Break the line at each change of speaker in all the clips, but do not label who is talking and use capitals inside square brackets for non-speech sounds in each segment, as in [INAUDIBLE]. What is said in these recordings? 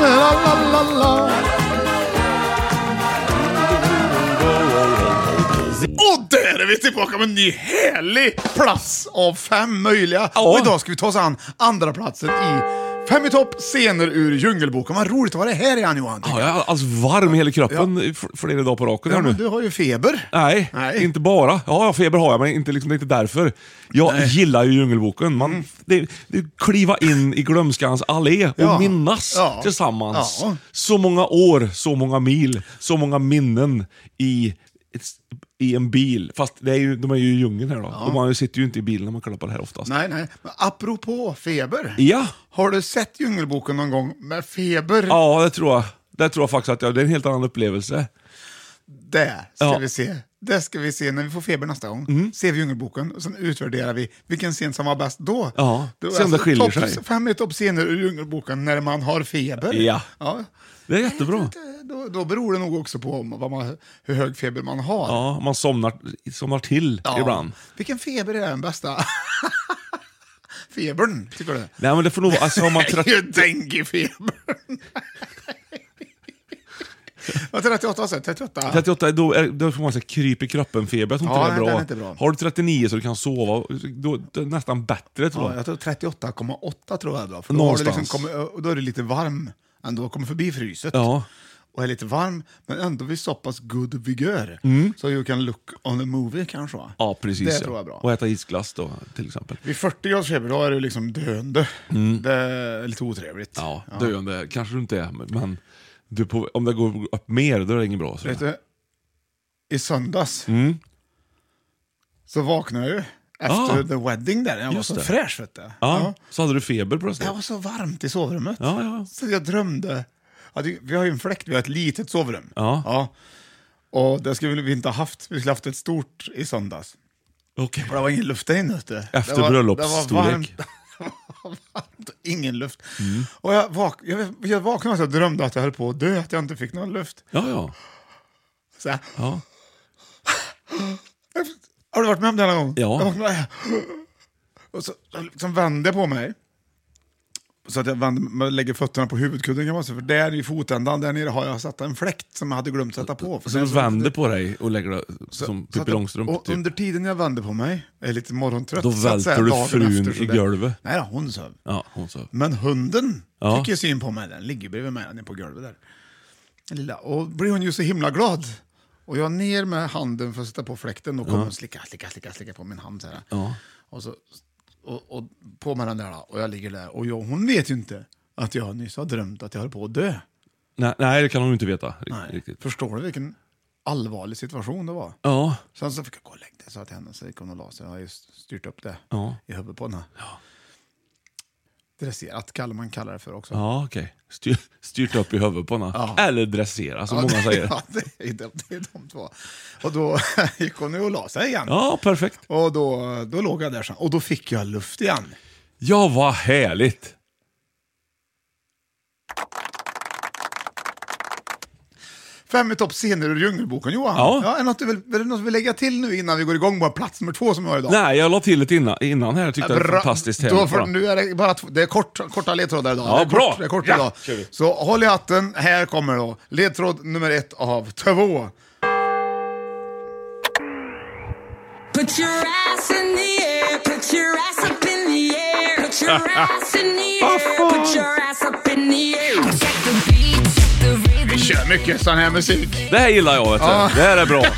la, la, la, la.
Och där är vi tillbaka med en ny härlig plats av fem möjliga. Och idag ska vi ta oss an andra platsen i Fem i topp scener ur Djungelboken. Vad roligt att vara här igen Johan.
Ja, jag är alldeles varm i hela kroppen i f- flera dagar på raken här
Ja,
nu.
men du har ju feber.
Nej,
Nej.
inte bara. Ja, feber har jag, men inte, liksom, det är inte därför. Jag gillar ju Djungelboken. Man,
Mm.
det, det, kliva in i glömskans allé och
Ja.
minnas
Ja.
tillsammans.
Ja.
Så många år, så många mil, så många minnen i, ett, i en bil. Fast det är ju, de är ju i djungeln här då. Och man sitter ju inte i bilen när man kollar på det här oftast.
Nej, nej. Men apropå feber.
Ja.
Har du sett Djungelboken någon gång med feber?
ja, det tror jag. Det tror jag faktiskt att jag, det är en helt annan upplevelse.
Det ska
Ja. Mm.
vi se. Det ska vi se när vi får feber nästa gång. Ser vi Djungelboken och sen utvärderar vi vilken scen som var bäst då.
Ja,
Då är
se om det skiljer
topp,
sig.
Fem i toppscener ur Djungelboken när man har feber.
Ja.
ja.
Det är jättebra.
Då, då beror det nog också på om- vad man, hur hög feber man har.
Ja, man somnar, somnar till
Ja.
ibland.
Vilken feber är den bästa? [LAUGHS] Febern, tycker du?
Nej men det får nog vara, alltså har man
[LAUGHS] Det är ju
30...
denguefebern. [LAUGHS] Vad 38 sa jag? 38?
38, då, är, då får man säga kryp i kroppen-feber. Jag tror
Ja,
inte
nej,
det är bra.
den är inte bra.
Har du 39 så du kan sova, då, det är nästan bättre tror
Ja,
jag.
jag tror 38,8 tror jag är bra. För då, har du
Någonstans.
liksom kommit, och då är du lite varm ändå, kommer förbi fryset.
Ja.
Och är lite varm, men ändå vid så pass good vigör. Så you can look on a movie kanske va?
Mm. Ja, precis.
Det
ja.
tror jag är bra.
Och äta isglass då, till exempel.
Vid 40 graders feber, då är du liksom döende. Det är lite otrevligt.
Mm. Ja, döende kanske du inte är, men- men du är på, om det går upp mer, då är det inget bra. Så.
Vet du, i söndags
Mm.
så vaknade jag ju efter
Ah.
the wedding där. Jag var
Just
så
det. Ah.
fräsch vet du.
Ja, så hade du feber
Det
plötsligt.
var så varmt i sovrummet.
Ja, ja.
Så jag drömde. Ja, det, vi har ju en fläkt, vi har ett litet sovrum.
Ja.
Och det skulle vi inte ha haft. Vi skulle haft ett stort i söndags.
Okej.
Och det var ingen luft där inne. vet du.
Efter
det var,
bröllopsstorlek.
Det var varmt. [LAUGHS] Det var varmt och Ingen luft. Och jag, vak jag, jag vaknade och drömde att jag höll på att dö, att jag inte fick någon luft.
Ja, ja.
Så här,
ja.
Har du varit med om det här någon gång?
Ja.
Jag vaknade, och så så liksom vände jag på mig. Så att jag vänder, mig- lägger fötterna på huvudkudden kan man säga, för där i fotändan, där nere har jag satt en fläkt som jag hade glömt sätta på. För
Så
det
du
är
vänder på dig och lägger dig som
så att
Pippi
jag-
Långstrump,
Och
typ.
under tiden jag vände på mig, jag är lite morgontrött.
Då
så att säga,
välter du
dagen
frun
så
i
det-
golvet.
Nej, då, hon sov.
Ja, hon sa.
Men hunden
Ja.
fick ju syn på mig, den ligger bredvid mig, den är på golvet där. Den Lilla. Och blir hon ju så himla glad. Och jag ner med handen för att sätta på fläkten, och kommer hon slicka, slicka, slicka, slicka på min hand så här.
Ja.
Och, så, och, och på med den där då, och jag ligger där. Och jag, hon vet ju inte att jag nyss har drömt att jag höll på att dö.
Nej, nej, det kan hon ju inte veta. Nej. Riktigt.
Förstår du vilken allvarlig situation det var?
Ja.
Sen så fick jag gå och lägga det, sa jag till henne. Så gick hon och la sig. Jag har just styrt upp det
Ja.
i huvudet på henne. Dresserat kallar man kallar det för också.
Ja, okej. Styr, styrt upp i huvudet på henne. Eller dressera, som
Ja,
många
det-
säger.
[LAUGHS] Ja, det, är de, det är de två. Och då [LAUGHS] gick hon ju och la sig igen.
Ja, perfekt.
Och då, då låg jag där sen. Och då fick jag luft igen.
Ja, vad härligt!
Fem i topp scener ur Djungelboken, Johan.
Ja.
är, det något du vill, är det något du vill lägga till nu innan vi går igång på plats nummer två som vi har idag?
Nej, jag la till ett innan, innan här. Jag tyckte det var
Bra.
fantastiskt
Då
härligt.
för,
bara.
nu är det bara två, det är kort, korta ledtrådar idag.
Ja,
det är
bra.
Kort, det är kort
Ja,
idag.
kör vi.
Så håll i hatten, här kommer då ledtråd nummer ett av två.
Put your ass in the air, put your ass up in the air, put
[LAUGHS]
your ass in the air, put your ass up in the air. Check the beat, check the rhythm.
Vi kör mycket sån här musik.
Det här gillar jag vet du. Det här är bra.
Drive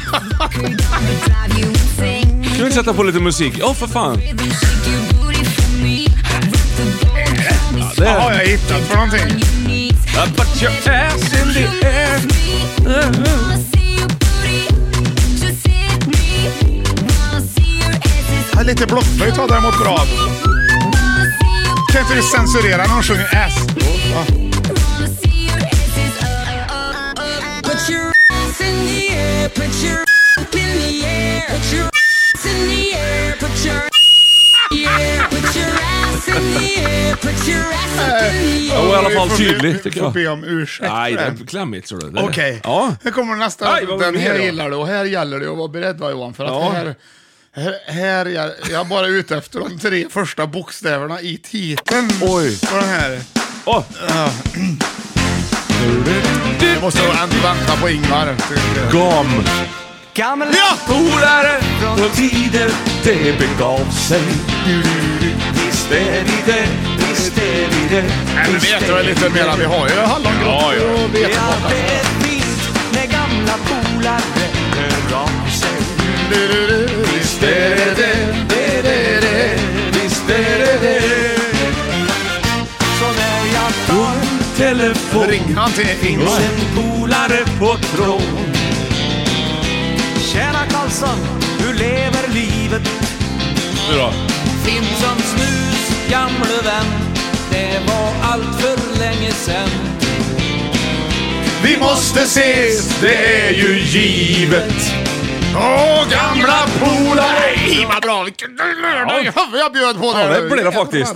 you insane.
Jag vill sätta på lite musik. Ja, för fan.
Rhythm, shake your booty for me. Rock the boat, tell me
Det
Vad har
här.
jag hittat för någonting?
you need.
I put your ass in the air.
Wanna see your booty, just hit me. Wanna see your asses.
Ja, Lite blockflöjt var däremot bra.
Wanna see your
Kan inte du censurera när de sjunger ass? Ja.
Wanna see your asses up, up, up. Put your ass in the air, put your up in the air, put your ass in the air, put your yeah, put your ass in the air, put your ass up in the
Jag
air.
var i alla fall
Får be-
tydlig, tycker
Får
jag.
be om ursäkt
Nej,
för
det
den.
är klämmigt. Okej.
Okej,
Ja.
här kommer nästa.
Aj, vad var
den
det
här
då?
gillar du och här gäller det att vara beredd va, Johan. För att
Ja.
här, här, här jag, jag är bara ute efter de tre första bokstäverna i titeln.
Oj.
På den här.
Åh,
Jag måste nog ändå vänta på Ingvar.
gam.
Gamla
Ja! Mm.
Polare från tider det begav sig. Visst är vi det, visst är vi det.
Nej, men vet du lite mer? Vi har ju
Ja,
hallongrottor
ja.
och veteportar.
det är fint när gamla polare hör av sig.
Visst är det det, det är det, det.
Visst är det det.
Så när jag tar
Telefon.
Ringer han till Ingvar?
En polare på tråd.
Tjena Karlsson, hur lever livet?
Nu då?
Finns som snus, gamle vän. Det var allt för länge sen.
Vi måste ses, det är ju givet. Åh, gamla polare! I, Vad bra! Vilken lördag jag bjöd på
Ja, det blev det faktiskt.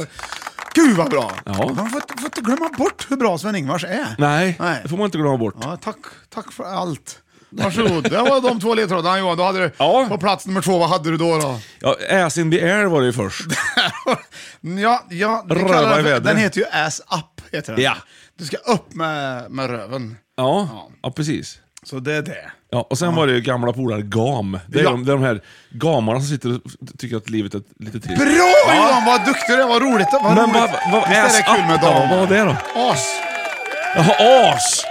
Gud vad bra!
Ja.
Man får, inte- får inte glömma bort hur bra Sven-Ingvars är.
Nej,
Nej.
det får man inte glömma bort.
Ja, tack, tack för allt. Varsågod. Det var de två ledtrådarna Johan. Då hade du,
Ja.
På plats nummer två, vad hade du då?
[LAUGHS]
då?
Ja, ass in the air var det
[LAUGHS]
ju först.
ja, ja, vi
Röva
kallar den
i
för-
vädret.
Den heter ju Ass Up. Heter den.
Ja.
Du ska upp med, med röven.
Ja, ja precis.
Så det är det.
Ja, och sen var det ju gamla polare Gam. Det är,
Ja.
de, det är de här gamarna som sitter och tycker att livet är lite trist.
Bra Johan, vad duktig du är, vad roligt. Vad
Men
roligt.
vad- vad-
Visst är
ass
det kul
up
med
då?
damer?
Vad var det då?
As.
Jaha, as!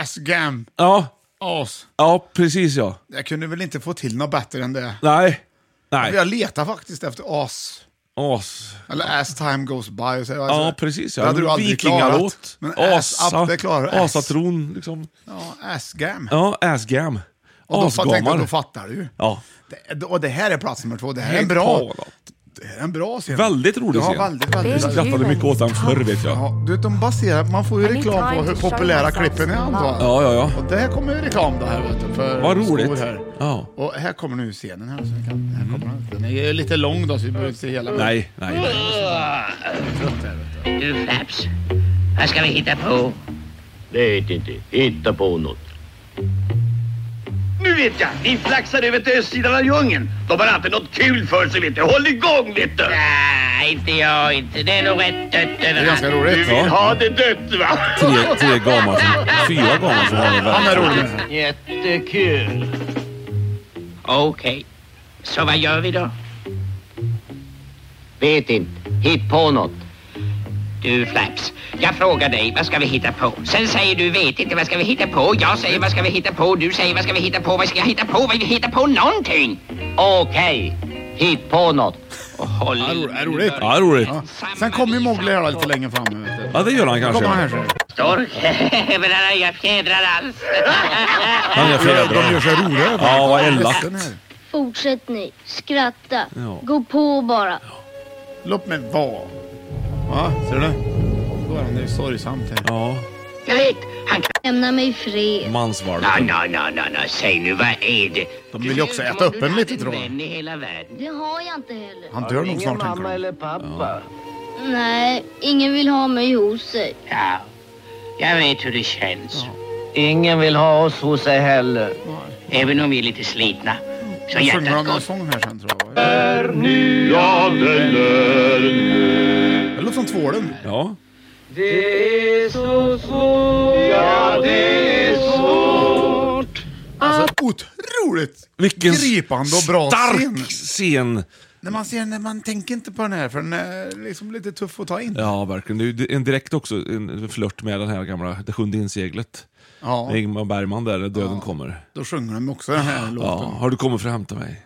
Ass gam.
Ja,
As.
ja precis ja.
Jag kunde väl inte få till något bättre än det.
Nej. Nej.
Jag letar faktiskt efter as.
As.
Eller as time goes by. Så,
Ja, precis ja.
Alltså, Det hade du aldrig klarat.
Vikingalåt.
Men ass
Asa.
up, det klarar du. Ass.
Asatron liksom.
Ja, ass gam.
Ja, asgam.
Och då, fatt, tänkte, jag, då
Asgamar.
fattar du ju.
Ja.
Det, och det här är plats nummer två. Det här är en
Helt
bra,
galet.
det här är en bra scen.
Väldigt rolig
ja,
scen.
Väldigt, väldigt,
Jag
väldigt.
skrattade mycket åt den förr vet jag.
Ja, du vet, de baserar, man får ju
I need
reklam på
time
hur
to show
populära
myself
klippen är
some
antar jag.
love.
Ja, ja, ja.
Och det här kommer ju reklam det här vet du. För
Vad
skor
roligt.
Här.
Ja.
Och här kommer nu scenen här. Så vi kan, här kommer den. den är ju lite lång då så vi behöver inte se hela.
Nej, nej, nej.
Du Flaps, vad ska vi hitta på? Vet inte. Hitta på något. Nu vet jag! Ni flaxar över till östsidan av djungeln. De har alltid något kul för sig, vet du. Håll igång, vet du! Nej, inte jag inte. Det är nog rätt dött
Det är ganska roligt.
Du vill
Ja.
ha det dött, va?
Tre, tre gamar som... Fyra gamar som har det
Han är
väldigt
rolig.
Jättekul. Okej. Så vad gör vi då? Vet inte. Hitt på något. Du Flaps, jag frågar dig, vad ska vi hitta på? Sen säger du vet inte, vad ska vi hitta på? Jag säger vad ska vi hitta på? Du säger vad ska vi hitta på? Vad ska jag hitta på? Vad vi hitta på någonting? Okej, hitt på något. Och håll
Ja, ro- ja, roligt.
Ja, roligt.
Sen kommer ju Mowgli här lite längre fram. Vet du.
Ja, det gör han
Då kommer han här
kanske.
så här.
Stork, [LAUGHS] men han har inga fjädrar alls.
Han är
De gör
fjädrar.
sig roliga över
Ja, vad
den
elakt.
här.
Fortsätt ni, skratta.
Ja.
Gå på bara.
Låt mig vara. Ja, ser du? Då är han ju sorgsamt här.
Ja,
Jag vet, han kan...
Lämna mig i fred.
Nej,
mansvalpen.
nej, nej, nej, nej, säg nu, vad är det?
De
Du
vill ju också
ljuger
äta
om
upp
du
en
hade
lite, tror jag.
vän i hela världen.
Det har jag inte heller.
Han dör nog snart tänker du.
pappa.
Nej, ingen vill ha mig hos sig.
Ja, jag vet hur det känns.
Ingen vill ha oss hos sig heller.
Även om vi är lite slitna. Så
Jag sjunger
hjärtat
om någon
går.
sång här sen tror jag.
Ja, den
Det låter som tvålen.
Ja.
Det är så svårt. Ja, det är svårt.
Alltså otroligt
Vilken
gripande och bra
stark
scen.
scen.
När man ser den, man tänker inte på den här för den är liksom lite tuff att ta in.
Ja, verkligen. Det är ju en direkt också en flört med den här gamla Det sjunde inseglet.
Ja.
Med Ingmar Bergman där, när Döden kommer.
Då sjunger de också den här låten.
Ja, har du kommit för att hämta mig?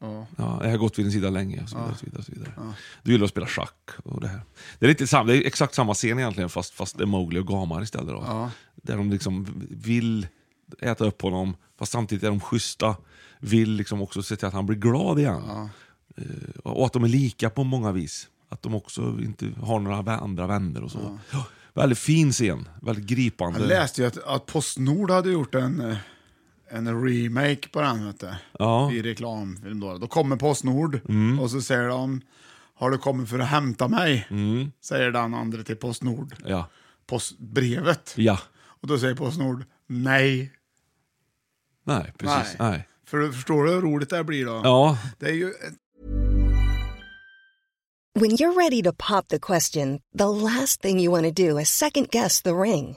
Ja.
Ja, jag har gått vid din sida länge. Och så vidare, och så vidare, och så vidare. Du gillar att spela schack. Och det, här. Det, är lite sam, det är exakt samma scen egentligen, fast, fast det är Mowgli och Gamar istället. Då.
Ja.
Där de liksom vill äta upp honom, fast samtidigt är de schyssta. Vill liksom också se till att han blir glad igen. Eh, och att de är lika på många vis. Att de också inte har några vä- andra vänner och så. Ja, Väldigt fin scen, väldigt gripande.
Jag läste ju att, att Postnord hade gjort en, eh, en remake på den vet du.
Ja. Mm.
i reklamfilm. Då, då kommer Postnord och så säger de Har du kommit för att hämta mig?
Mm.
Säger den andra till Postnord.
Ja.
Postbrevet.
ja,
Och då säger Postnord nej.
nej precis.
Nej.
Nej.
För, förstår du hur roligt det här blir då?
Ja.
Det är ju ett
When you're ready to pop the question, the last thing you want to do is second guess the ring.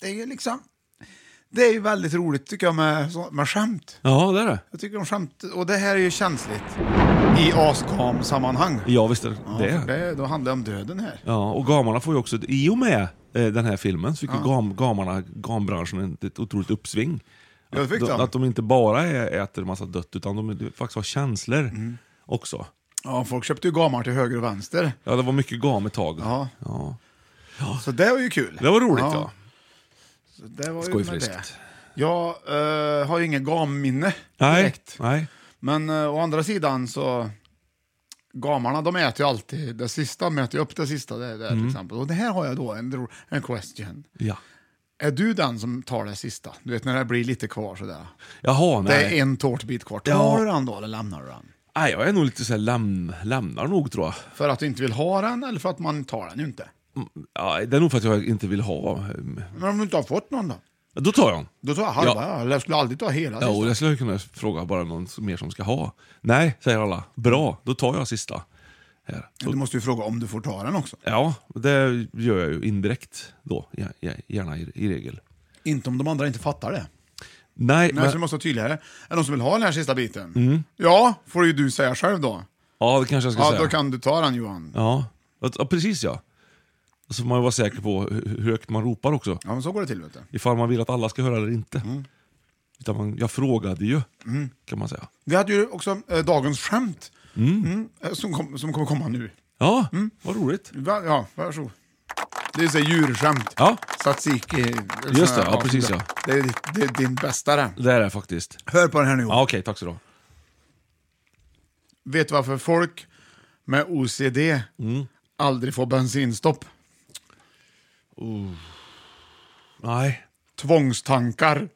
det är ju liksom... Det är ju väldigt roligt tycker jag med, så- med skämt.
Ja, det är det.
Jag tycker om skämt, och det här är ju känsligt. I askam-sammanhang.
Ja, visst är det
Ja,
det.
för det. Då handlar det om döden här.
Ja, och gamarna får ju också, i och med eh, den här filmen, så fick ju gam, gamarna, gambranschen en- ett otroligt uppsving.
Ja, det
Att
fick
de,
de.
att de inte bara är, äter massa dött, utan de faktiskt har känslor
Mm.
också.
Ja, folk köpte ju gamar till höger och vänster.
Ja, det var mycket gam ett tag.
Ja.
Ja.
Så det var ju kul.
Det var roligt ja.
Så det var ju med
Skojfriskt.
det. Jag eh, har ju inget gamminne
Nej,
direkt.
nej.
Men eh, å andra sidan så... Gamarna de äter ju alltid det sista, de äter ju upp det sista. Det, det,
Mm.
till exempel. Och det här har jag då en, ro- en question.
Ja.
Är du den som tar det sista? Du vet när det blir lite kvar sådär.
Jaha, nej.
Det är en tårtbit kvar. Tar
Ja.
du den då eller lämnar du den?
nej. Jag är nog lite såhär, läm, lämnar nog tror jag.
För att du inte vill ha den eller för att man tar den ju inte?
Mm, Ja, det är nog för att jag inte vill ha. ehm,
Men om du inte har fått någon då?
Då tar jag den.
Då tar jag halva,
Ja.
ja. eller jag skulle aldrig ta hela
Ja,
sista.
och jag skulle kunna fråga bara någon som- mer som ska ha. Nej, säger alla. Bra, då tar jag sista. Här. Så-
Du måste ju fråga om du får ta den också.
Ja, det gör jag ju indirekt då, ja, ja, gärna i, i regel.
Inte om de andra inte fattar det.
Nej,
Nej,
men,
så du måste vara tydligare. Är det någon som vill ha den här sista biten? Ja, får ju du säga själv då.
ja, det kanske jag ska
Ja,
säga.
då kan du ta den Johan.
ja. ja, precis ja. Så får man ju vara säker på hur hur högt man ropar också.
Ja, men så går det till vet du.
Ifall man vill att alla ska höra eller inte.
Mm.
Utan man, jag frågade ju, kan man säga.
Vi hade ju också eh, dagens skämt. Mm, eh, som, kom, som kommer komma nu.
Ja,
Mm.
vad roligt.
Va, ja, varsågod. Det är så här djurskämt.
Ja.
Tzatziki.
Just
sån här-
det, ja, precis, ja.
Det är, ditt- det är din bästa det.
Det är det faktiskt.
Hör på den här nu Johan.
Ja, Okej, tack så du
Vet du varför folk med OCD
Mm.
aldrig får bensinstopp?
Nej. [LAUGHS]
Tvångstankar.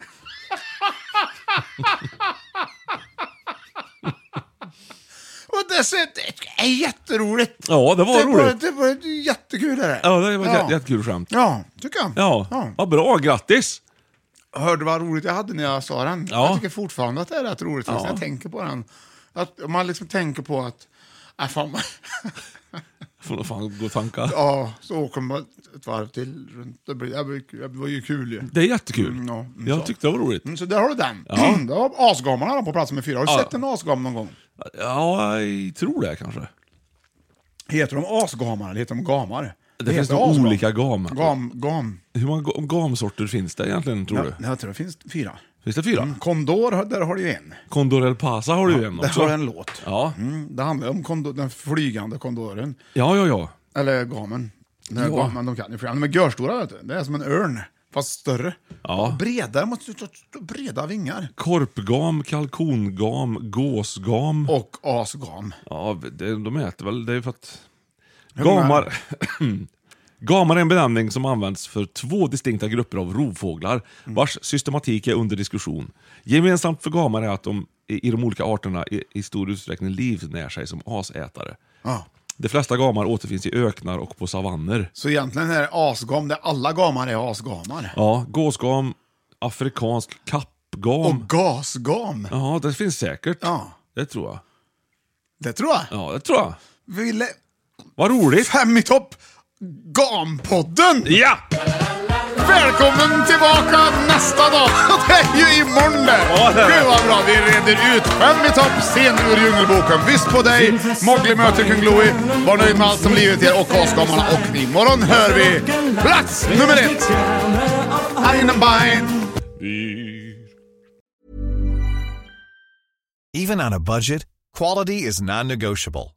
alltså, det är jätteroligt.
Ja, det var
det Var,
roligt.
det var jättekul. Är det.
Ja, det var ett jä- jättekul skämt.
Ja, tycker jag.
Ja, vad bra. Grattis!
Hörde vad roligt jag hade när jag sa den.
Ja.
Jag tycker fortfarande att det är rätt roligt faktiskt,
Ja.
när jag tänker på den. Att man liksom tänker på att, ah, fan,
Får nog fan gå och tanka.
ja, så åker man ett varv till runt. Det, blir, det, blir, det var ju kul ju.
Det är jättekul.
Mm, ja. Mm,
jag
så.
tyckte det var roligt.
Mm, så där har du den.
Ja.
det var Asgamarna då på plats nummer fyra. Har du
Ja.
sett en asgam någon gång?
Ja, jag tror det kanske.
Heter de asgamar eller heter de gamar?
Det,
heter
finns nog
asgam.
olika gam.
Gam, gam.
Hur många ga- gamsorter finns det egentligen, tror du?
Ja, jag tror det finns fyra.
Finns det fyra?
Mm, Kondor, har- där har du ju en.
Condor El Pasa har du ju en
Där
också.
har du en låt.
Ja.
Mm, det handlar om kondo, den flygande kondoren.
ja, ja, ja.
Eller gamen. Nej,
Ja.
gamen de kan ju flyga. De är görstora, vet du. Det är som en örn, fast större.
Ja.
Bredare, måste du ha breda vingar.
Korpgam, kalkongam, gåsgam.
Och asgam.
Ja, det, de äter väl, det är för att...
Hur många-
Gamar... [CLEARS THROAT] Gamar är en benämning som används för två distinkta grupper av rovfåglar
Mm.
vars systematik är under diskussion. Gemensamt för gamar är att de i i de olika arterna i, i stor utsträckning livnär sig som asätare.
Ja.
De flesta gamar återfinns i öknar och på savanner.
Så egentligen är det asgam, där alla gamar är asgamar.
Ja, gåsgam, afrikansk kappgam.
Och gasgam,
Ja, det finns säkert.
Ja.
Det tror jag.
det tror jag.
Ja, det tror jag.
Ville...
Vad roligt!
Fem i topp! Gampodden!
Ja!
Välkommen tillbaka nästa dag! [LAUGHS] Det är ju imorgon det!
Ja, det är det.
Gud vad bra, vi reder ut fem i topp, sen ur djungelboken. Visst på dig, Mowgli möter Kung Louie. Var nöjd med allt som livet ger och Gasgamarna. Och imorgon hör vi plats nummer ett! Einenbein!
Even on a budget, quality is non-negotiable.